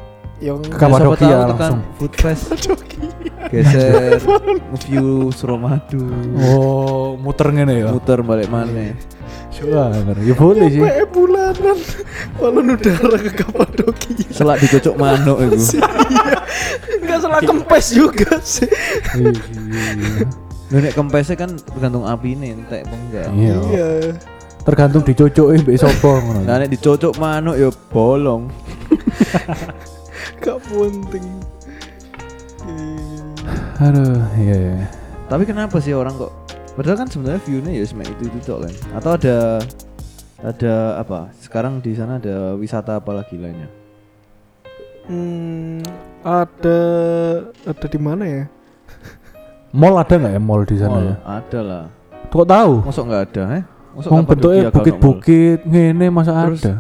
yang Ke Kapadokia Siapa tahu kan. langsung. tekan Food Fest. Geser view Suramadu. Oh, muter ngene ya. Muter balik Iya. mana? Coba, ya boleh sih. Sampai bulanan balon udara ke Kapadokia. Selak dicocok manuk itu. Enggak salah kempes juga sih. Iya. Lu nek kempesnya kan tergantung api ini entek apa enggak. Iya. Iya. Tergantung dicocoki mbek sapa ngono. Nah nek dicocok manuk ya bolong. Gak penting. Aduh, iya iya. Tapi kenapa sih orang kok padahal kan sebenarnya view-nya ya cuma itu-itu tok kan. Atau ada ada apa? Sekarang di sana ada wisata apa lagi lainnya? Hmm, ada ada di mana ya? Mall ada nggak ya mall di sana Mall ya? ada lah. Kok tahu? Masuk enggak ada, eh? Masuk Wong bentuknya bukit-bukit ngene masa Terus- ada.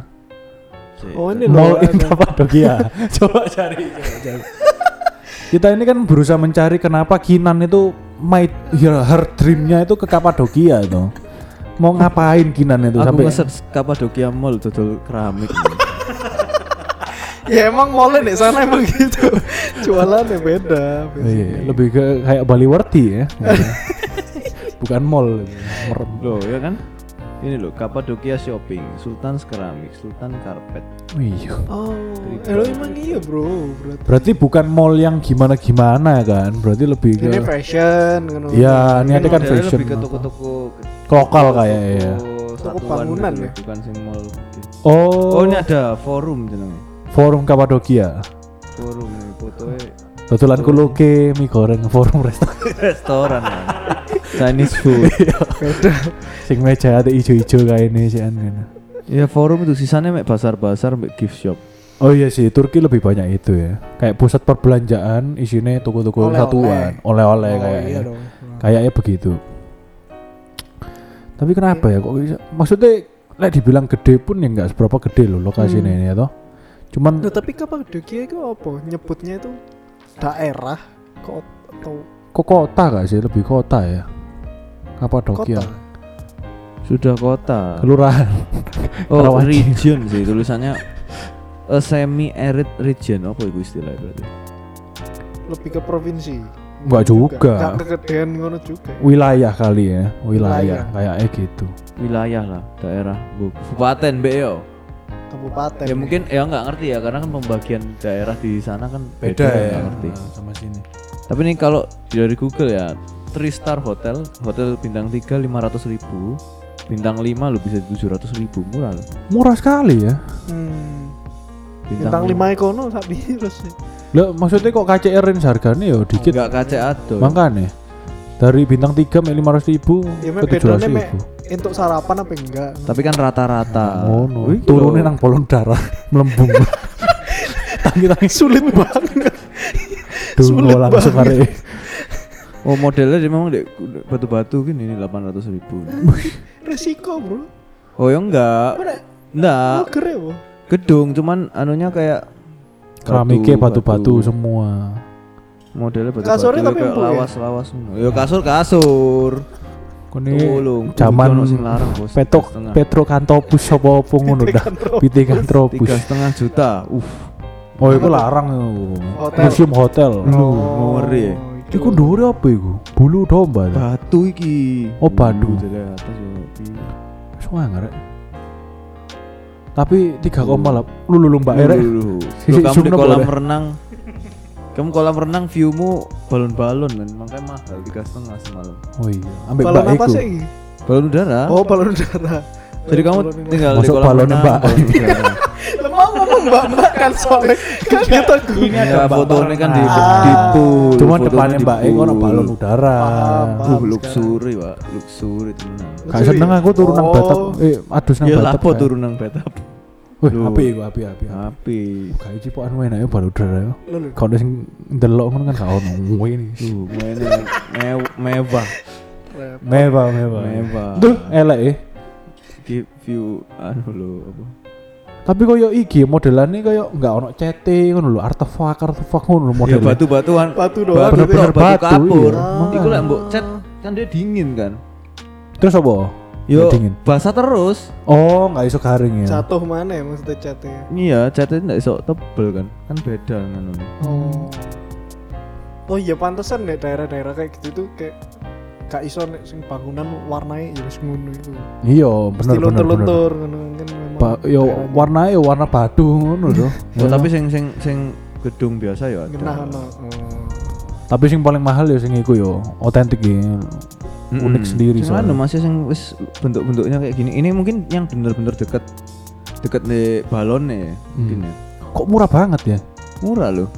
Oh, ini Mall loh. Indah Padokia. Coba cari, coba cari. Kita ini kan berusaha mencari kenapa Kinan itu my her, her dreamnya itu ke Kapadokia itu. Mau ngapain Kinan itu Aku sampai nge-search Kapadokia Mall dodol keramik. Ya emang mallnya di sana emang gitu. Jualannya beda. Oh iya, lebih ke kayak Baliwarti ya. Bukan mall. Mer- loh, ya kan? Ini loh, Kapadokia Shopping, Sultan's Keramik, Sultan Karpet. Oh iya. Oh, eh, lo emang iya bro. Berarti. Berarti bukan mall yang gimana-gimana kan? Berarti lebih ke Ini fashion kan. Iya, niatnya kan Modelnya fashion. lebih ke toko-toko Lokal kayak ya. Toko Toko bangunan ya? Bukan sing mall. gitu. Oh, Oh, ini ada forum jenenge. forum Kapadokia. Forum ini fotonya Dodolan kuluke, mie goreng, forum restoran. restoran. ya. Chinese Iya. food. sing meja ate ijo-ijo kayak ini sih an gitu. ya forum itu sisanya mek pasar-pasar mek gift shop. Oh iya sih, Turki lebih banyak itu ya. Kayak pusat perbelanjaan isinya toko-toko Oleh-oleh. satuan, oleh-oleh Oh, kayak. iya dong. Kayaknya begitu. Tapi kenapa ya kok bisa? Maksudnya lek dibilang gede pun ya nggak seberapa gede loh lokasinya ini ya toh. Cuman Hmm. Loh, tapi Kapadokia itu apa? Nyebutnya itu daerah kota atau kok kota gak sih? Lebih kota ya. Kapadokia. kota? Sudah kota. Kelurahan. Oh, Karawaci. region sih tulisannya a semi arid region apa itu istilahnya berarti? Lebih ke provinsi. Enggak juga. Enggak kegedean ngono juga. Wilayah kali ya, wilayah, Wilayah. kayaknya gitu. Wilayah lah, daerah, bu- kabupaten, BO. Kabupaten. Ya mungkin ya nggak ngerti ya karena kan pembagian daerah di sana kan ya. beda, Oh, nggak ngerti. sama sini. Tapi ini kalau dari Google ya, 3 star hotel, hotel bintang 3 500 ribu, bintang 5 lo bisa 700 ribu, murah loh. Murah sekali ya. Hmm. Bintang lima ekono sak biru sih. Lah maksudnya kok KCR ini harganya ya dikit. Enggak kaca aduh. Makanya dari bintang 3 mek 500 ribu Ya Iya, ke mek bedane 700 mek ribu. untuk sarapan apa enggak? Tapi kan rata-rata. Oh no. Ah. Wih, gitu Turunnya loh. nang polong darah melembung. Tangi-tangi Sulit banget. dungo Sulit langsung hari. Oh modelnya dia memang dek batu-batu gini ini 800 ribu. Resiko, Bro. Oh ya enggak. Oh, Enggak. keren, Bro. Gedung cuman anunya kayak Keramiknya batu-batu semua. Modelnya batu-batu. Kasurnya tapi kayak empuk ya? lawas-lawas semua. Ya kasur kasur. Kone Tulung. zaman Kudu ono sing larang, Bos. petok Tiga setengah. Petro Kantopus apa apa ngono dah. Tiga Pitikantropus. setengah juta. Uff. Oh itu larang itu. Hotel. Museum hotel. Oh, ngeri. Iku dhuwure apa iku? Bulu domba ta. Batu iki. Oh, batu. Dari atas yo. Suangar. Tapi 3,8 lu lu mbak erek. Lulu. Sisi Kamu di sumno kolam boleh. renang. Kamu kolam renang viewmu balon-balon kan makanya mahal tiga setengah semalam. Oh iya, ambek mbak Balon apa iku. sih? Balon udara. Oh, balon udara. Jadi kamu Balon udara. tinggal Masuk di kolam balon renang, mbak. balon udara. Lah, mau ngomong Mbak-mbak kan soalnya kan kita Ini ada fotonya kan di Ah. di pool. Cuman fotonya depannya di mbak iku ono pool. balon udara. Paham, paham. Uh, luxury, Pak. Luxury temenan. Kayak seneng aku turun nang Oh. batap. Eh, adus nang Ya batap. lapo kayak. turun Ah. nang betap. Wih, Loh. api iku, api api. Api. Kayak cipokan enak ya balon udara ya. Loh, loh. Kalau sing ndelok ngono kan gak ono. Wih, ini. Uh, mainnya mew- mewah, Mewah, mewah. mewah. Duh, elek eh. Di view anu lo apa? Tapi koyo iki modelannya koyo nggak ono CT ngono lho, artefak artefak ngono lho Ya modelnya. batu-batuan. Batu doang. Batu Ah. Bener-bener batu, batu batu, kapur. iya. Iku lah mbok cat kan dia dingin kan. Terus apa? Yo, Nggak dingin. basah terus. Oh, nggak iso garing ya. Jatuh mana ya maksudnya catnya? Iya, catnya ndak iso tebel kan. Kan beda kan. Oh. Oh iya pantesan deh daerah-daerah kayak gitu tuh kayak gak iso nek sing bangunan warnanya ya wis ngono itu. Iya, bener Mesti bener bener. luntur-luntur ngono kan memang. Ba yo daerahnya warna yo warna batu ngono lho. Oh, Ya. tapi sing sing sing gedung biasa ya genah ada. ono. Oh. tapi sing paling mahal yo sing iku yo otentik ya. Unik sendiri Cuman soalnya. masih yang wis bentuk-bentuknya kayak gini. Ini mungkin yang bener-bener deket deket nih balonnya ya, mungkin ya. Kok murah banget ya? Murah loh.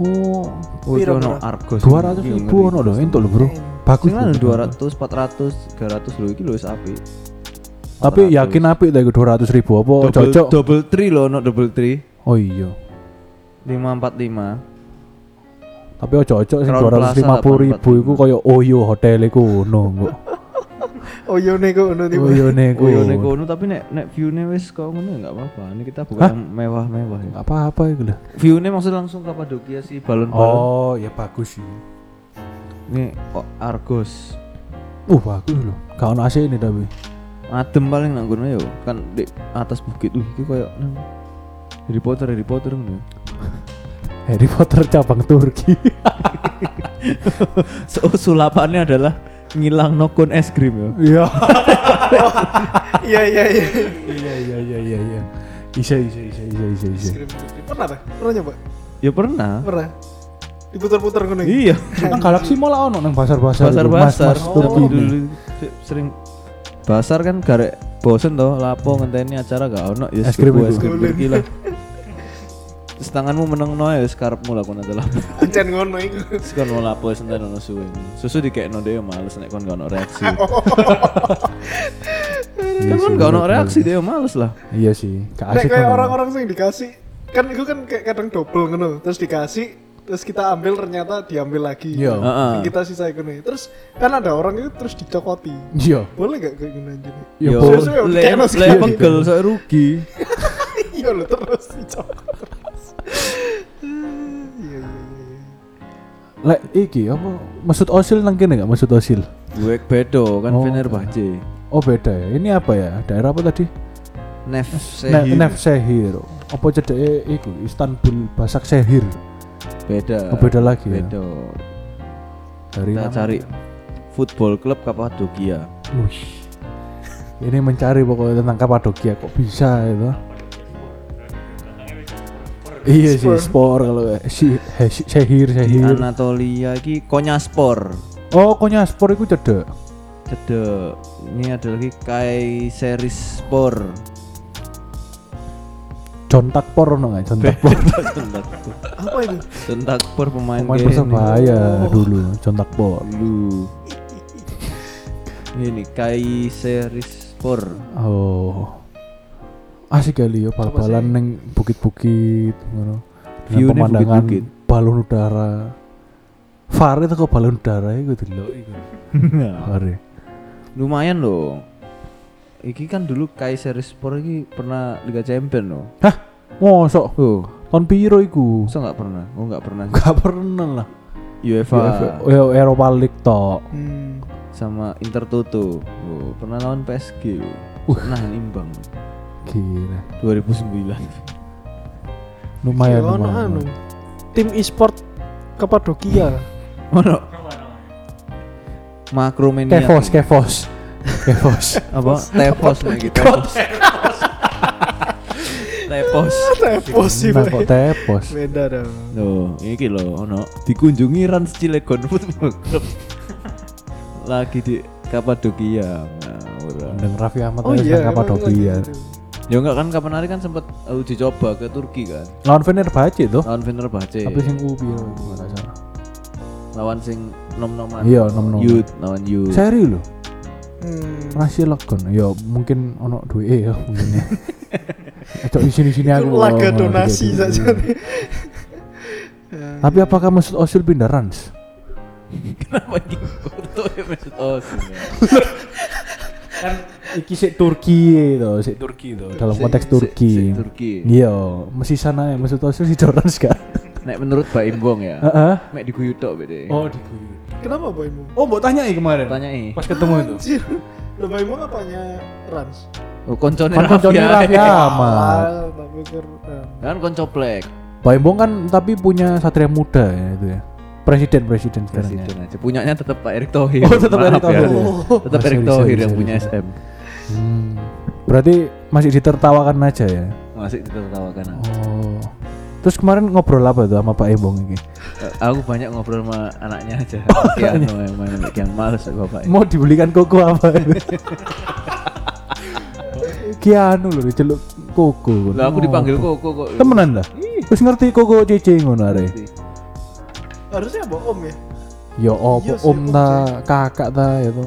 Oh, Oh, itu Piro ono murah? Argos. 200 ribu ono lho, entuk lho, Bro. Bagus. Sing kan lho. 200, 400, 300 lho iki lho wis apik. Tapi yakin apik ta iku 200 ribu apa double, Oh, cocok? Oh, double three loh, no double three. Oh iya. 545. Tapi ojo ojo sing Crown Plaza 250 ribu iku koyo Oyo hotel iku ngono kok. Oh iya nih kok ono tiba. Oyo ne iku. Oh, yo nek kono tapi nek nek view-ne wis kok ngono enggak apa-apa. Ini kita bukan yang mewah-mewah ya. Nggak apa-apa iku lho. View-ne maksud langsung Kapadokia sih balon-balon. Oh, ya bagus sih. Ini kok Argos. Uh, bagus lho. Gak ono AC ini tapi. Adem paling nang kono yo. Kan di atas bukit wih iki koyo nang Harry Potter, Harry Potter ngono. ya. Harry Potter cabang Turki. So, sulapannya adalah ngilang nokon es krim ya. Iya. Iya iya iya. Iya iya iya iya iya. Isa isa isa isa isa isa. Pernah ta? Pernah nyoba? Ya pernah. Pernah. Diputer-puter ngono. iki? Iya. Nang Galaxy malah ono nang pasar-pasar. Pasar itu, pasar. Mas-mas Turki. Dulu se- sering pasar kan garek bosen toh lapo ngenteni acara gak ono ya Es krim tuku itu. es krim Turki lah. Terus tanganmu meneng no ya wis karepmu lakon ada lapo. Ancen ngono iku. Terus kan mau lapo wis enten ono suwe. Susu dikekno dhewe males nek kon gak ono reaksi. Kan kon gak ono reaksi dhewe males lah. Iya sih. Gak Nek asik. kayak kan. orang-orang sing dikasih kan itu kan kayak kadang double ngono terus dikasih terus kita ambil ternyata diambil lagi Iya. Heeh. Yang kita sisa iku nih terus kan ada orang itu terus dicokoti Iya. boleh gak kayak gini anjir Iya, Yo, boleh. Suwe-suwe Ya Ya, dikekno le le sekali. pegel soalnya rugi. iya lo terus dicokot terus iya iya iya iya. Lek iki apa Mesut Osil nang kene gak Mesut Osil? Gue bedo kan Oh. Fenerbahce. Oh beda ya. Ini apa ya? Daerah apa tadi? Nef Ne- Sehir. Nevşehir. Apa cedeke iku Istanbul Basak Sehir. beda. Oh, beda lagi ya? Bedo. Dari Kita nama- cari football club Kapadokia. Wih. Ini mencari pokoknya tentang Kapadokia kok bisa itu. Iya sih, spor kalau kayak si he- si- Sehir Sehir. Anatolia iki Konyaspor. Oh, konya spor itu cedek. Cedek. Ini ada lagi Kayserispor. Jontak por no nggak? Jontak por. Tentakpor. apa itu Tentakpor pemain Pemain kene. Oh. persebaya dulu, jontak por. Lu. Ini Kayserispor. Oh. Asik kali ya bal-balan neng bukit-bukit ngono. Dengan View-nya pemandangan bukit-bukit. balon udara. Far itu kok balon udara iku delok iku. Hmm. Far. ya. Lumayan loh. Iki kan dulu Kayserispor iki pernah Liga Champion loh. Hah? Mosok Oh, tahun piro iku? masa nggak pernah? Oh nggak pernah. Gak pernah lah. UEFA UEFA, oh, Eropa League tok. hmm. sama Intertoto. Oh, pernah lawan PSG. Uh. Nah, imbang. Gila. 2009. Lumayan Ya, ono lumayan. anu tim e-sport Kapadokia Ono. Makromania. Iya. Kevos, Kevos. Kevos. Apa? Tepos lagi. Tepos. Tepos. posisi Nah, kok Tepos. beda dong Loh, iki lho ono dikunjungi Rans Cilegon Football Club. Lagi di Kapadokia. Nah, ora. Deng Raffi Ahmad oh aja iya sama emang lagi Kapadokia. gitu. Ya enggak kan kapan hari kan sempat uji coba ke Turki kan. Lawan Fenerbahce Oh, tuh. Lawan iya. Fenerbahce. Tapi sing ubi ya, nggak salah. lawan sing nom-noman. Iya, nom-noman. Youth lawan Youth. Seri loh. Hmm. Masih lockdown. Ya mungkin ono duwe ya mungkin. ya. Eh, Cok di sini-sini aku. Itu laga ngomong donasi gitu. saja nih. Tapi apakah Mesut Ozil pindah Rans? Kenapa iki foto ya Mesut Oh, Ozil? ya? Iki sik Turki itu, sik Turki itu. Dalam konteks Sik- sik Turki. Turki. Iya, mesti sana ya Mesut Ozil si Rans kan. Nek menurut Pak Imbong ya. Heeh. Mek diguyu tok Eh. bede. Oh, diguyur. Kenapa boymu? Oh, mbok tanya kemarin. Tanyai. Pas ketemu itu. Anjir. Domba Imo apanya Rans? Oh, koncone Kan Raffi koncone ya. Raffi ya. Sama. Ah, tak pikir eh, Kan konco plek. Pak Embong kan tapi punya satria muda ya itu ya. Presiden presiden sekarang ya. Presiden aja. Punyanya tetap Pak Erick Thohir. Oh, tetap Maaf Erick ya. Thohir ya. Tetap Bisa, Erick bisa, Thohir bisa, yang bisa. punya SM. Hmm. Berarti masih ditertawakan aja ya. Masih ditertawakan. aku. Oh. Terus kemarin ngobrol apa tuh sama Pak Embong ini? Eh, Aku banyak ngobrol sama anaknya aja. Kiano yang main kian males bapak. Mau dibelikan koko apa? Kianu loh anu diceluk koko. Lah aku dipanggil kok kok kok. Temenan dah. Terus ngerti koko cece ngono are. harusnya Mbak Om ya? Ya opo Iya sih, om ta kakak ta ya tuh.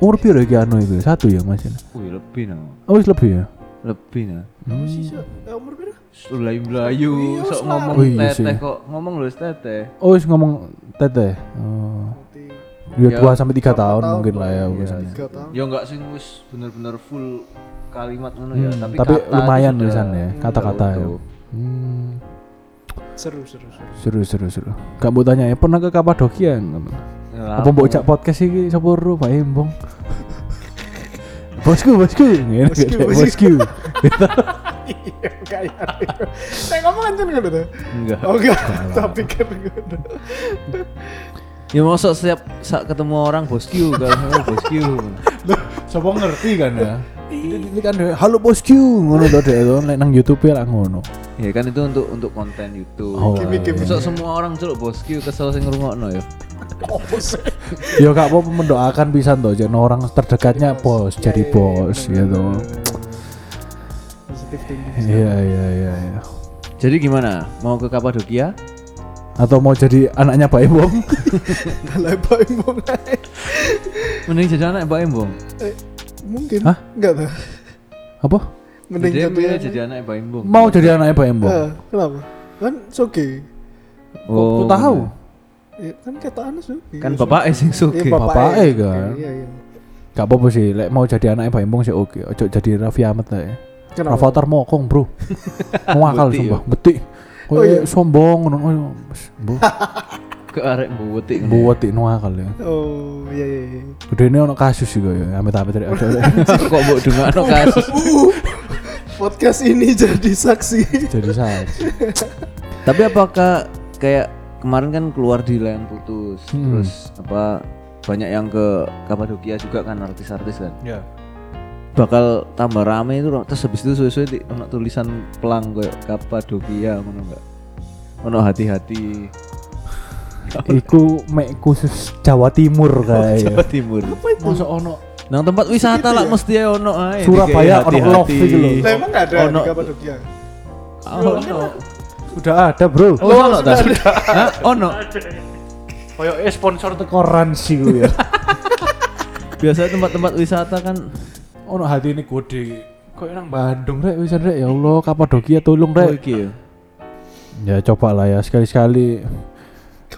Umur piro iki anu iku? Satu ya Mas. Wih, lebih no. Oh wis lebih ya. Lebih no. Apa sih Cak? Eh, umur berapa? Selayu melayu, sok ngomong Oh, iya sih. teteh kok ngomong lu teteh. Oh wis ngomong teteh. Oh. Ya Ya, 2 sampai 3 tahun tahun mungkin lah ya iya. biasanya. Tiga tahun. Ya enggak sih wis bener-bener full kalimat ngono ya, Hmm, tapi, tapi kata gitu. Iya, itu lumayan sudah- tulisannya, sudah kata-kata ya. utuh. Hmm. Seru seru seru. Seru seru seru. Kamu tanya ya pernah ke Kapadokia enggak? Ya, Apa mbok cak podcast iki sapa ro Pak Embong? bosku, bosku. Ngene, Bosku, kayak, bosku. Bosku. Iya kayak. Saya ngomong anjir ngono tuh. Enggak. Oh enggak, tak pikir ngono. Ya mosok setiap saat ketemu orang bosku kalau oh, bosku. Sapa ngerti kan Iya. ya? Ini kan halo bosku ngono to dek to nek nang YouTube ya lah ngono. Ya kan itu untuk untuk konten YouTube. Oh, Nah, Kimi, kimi. Mosok semua orang celuk bosku kesel sing ngrungokno ya. Apa sih? Ya gak apa-apa mendoakan pisan to jen orang terdekatnya bos Iya, jadi bos gitu. Positif tinggi. Iya iya iya iya. Jadi gimana? Mau ke Kapadokia? Atau mau jadi anaknya Pak Embong? Kalau Mbak Imo naik. Mending jadi anak Mbak Embong. Eh, Mungkin. Hah? Enggak tuh. Apa? Mending Jadi jadi milih jadi anak Mbak Embong. Mau jadi anaknya Pak Embong? Eh, Oh, kenapa? Kan soge. Kok tahu? Ya, kan kata Anas soge. Oh, Kan bapak sing Iya, sugih. bapaknya. Bapaknya kan. Iya, iya. Gak apa-apa sih, lek mau jadi anaknya Pak Embong sih oke. Ojo jadi Raffi Ahmad lah ya. Kenapa? Raffi Ahmad mokong bro. Mewakal Betik sumpah, betik. Kau Oh, iya. sombong, ngono. Oh, iya, Mas, bu, Ke arek mbuwetik. bu betik nuakal ya. Oh, iya iya. iya. Udah ini ono kasus juga ya, amit-amit dari ojo. Kok mbok dungakno kasus. Podcast ini jadi saksi. Jadi saya. Tapi apakah kayak kemarin kan keluar di layan putus, Hmm. terus apa banyak yang ke Kapadokia juga kan artis-artis kan. Ya. Bakal tambah rame itu terus habis itu suwe-suwe di ono tulisan pelang kayak Kapadokia ngono enggak. Ono hati-hati Iku mek khusus Jawa Timur Oh, kayak. Jawa Timur. Masuk ono Nang tempat wisata lah mesti ya ono ae. ya, Surabaya ono love gitu loh. Lah emang enggak Kan ada Ono. di Kapadokia? Oh, ono. sudah ada bro. Oh, ono ta? Hah? Ono. iya. Koyo e sponsor teko Ransi ku ya. Biasa tempat-tempat wisata kan ono hati ini gede. Koyo nang Bandung rek wis rek ya Allah Kapadokia tolong oh, rek. iki ya. Ya coba lah ya sekali-sekali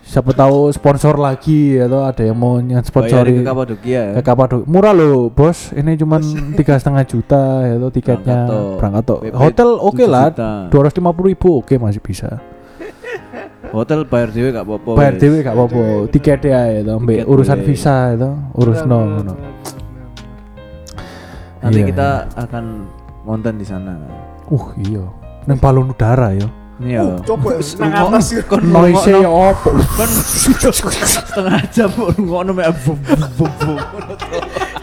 siapa tahu sponsor lagi atau ada yang mau Bayarin sponsori ke Kapadokia ya. Oh, ke Kapadok murah loh bos ini cuman tiga setengah juta ya tuh tiketnya Berangkat toh. berangkat toh PP hotel oke 7 lah juta. dua ratus lima puluh ribu oke masih bisa Hotel bayar dhewe gak apa-apa. bayar wes. dewe gak apa-apa Oh, tiket ya itu mbek Tiket urusan boleh. visa itu urus no ngono. Nanti Iya, kita akan ngonten di sana. uh iya neng balon udara ya Iya. Coba nang atas ya. Kon noise ya opo kon setengah jam kok ngono mek bum bum bum.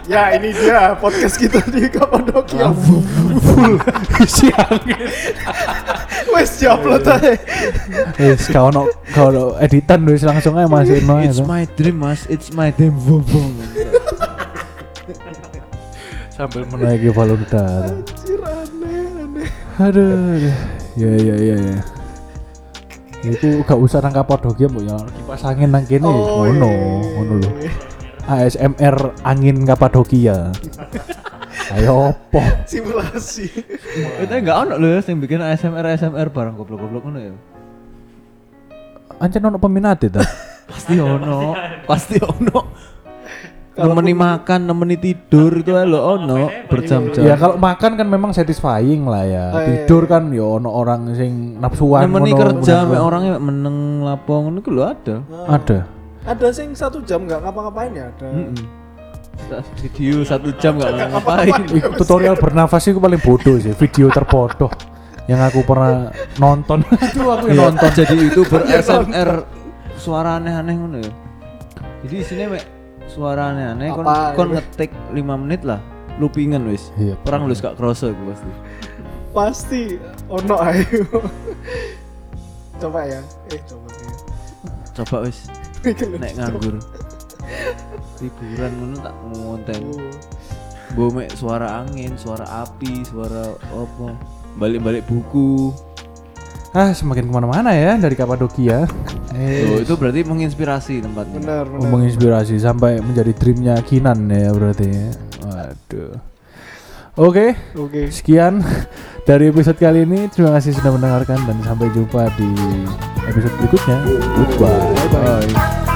Ya ini dia podcast kita di ya. Kapadokia. full isi angin Wes diupload aja. eh kau no kau editan wis langsung aja masih no It's itu my dream mas, it's my dream bum bum. sambil menaiki balon udara Anjir aneh aneh. Aduh, aduh. ya ya ya ya. Itu gak usah nang Kapadokia mbok ya kipas angin nang kene Oh, ngono, iya. ngono lho. ASMR angin Kapadokia. ya. Ayo opo? Simulasi. Itu enggak Eh, ono lho sing bikin ASMR ASMR barang goblok-goblok ngono ya. Ancen ono peminat e ta? Pasti ono, pasti ono. Nemeni makan, nemeni tidur itu ae lho ono berjam-jam. ya Iya, kalau makan kan memang satisfying lah ya. Oh, iya, Tidur kan ya ono orang sing nafsuan Nemeni ngono, kerja mek menang- orangnya meneng lapo ngono ku lho ada. Ada. Ada sing satu jam nggak ngapa-ngapain ya ada. video satu jam nggak ngapain Ih, tutorial bernafas itu paling bodoh sih video terbodoh yang aku pernah nonton Iya. itu aku yang nonton nonton jadi youtuber SMR suara aneh-aneh ngono ya. Jadi di sini mek suara aneh-aneh kon Apa? kon ngetik 5 menit lah loopingan wis. Iya. Orang lulus gak kroso iku pasti. Pasti ono ayo. coba ya. Eh coba ya. Coba wis Mikir lu, nek coba. nganggur. Liburan ngono tak ngonten. Oh. Mbok mek suara angin, suara api, suara apa? Balik-balik buku. ah semakin kemana-mana ya dari Kapadokia Eh, Loh, itu berarti menginspirasi tempatnya. Bener, bener. menginspirasi sampai menjadi dreamnya Kinan ya berarti ya. waduh oke Oke. sekian dari episode kali ini terima kasih sudah mendengarkan dan sampai jumpa di episode berikutnya goodbye bye, -bye.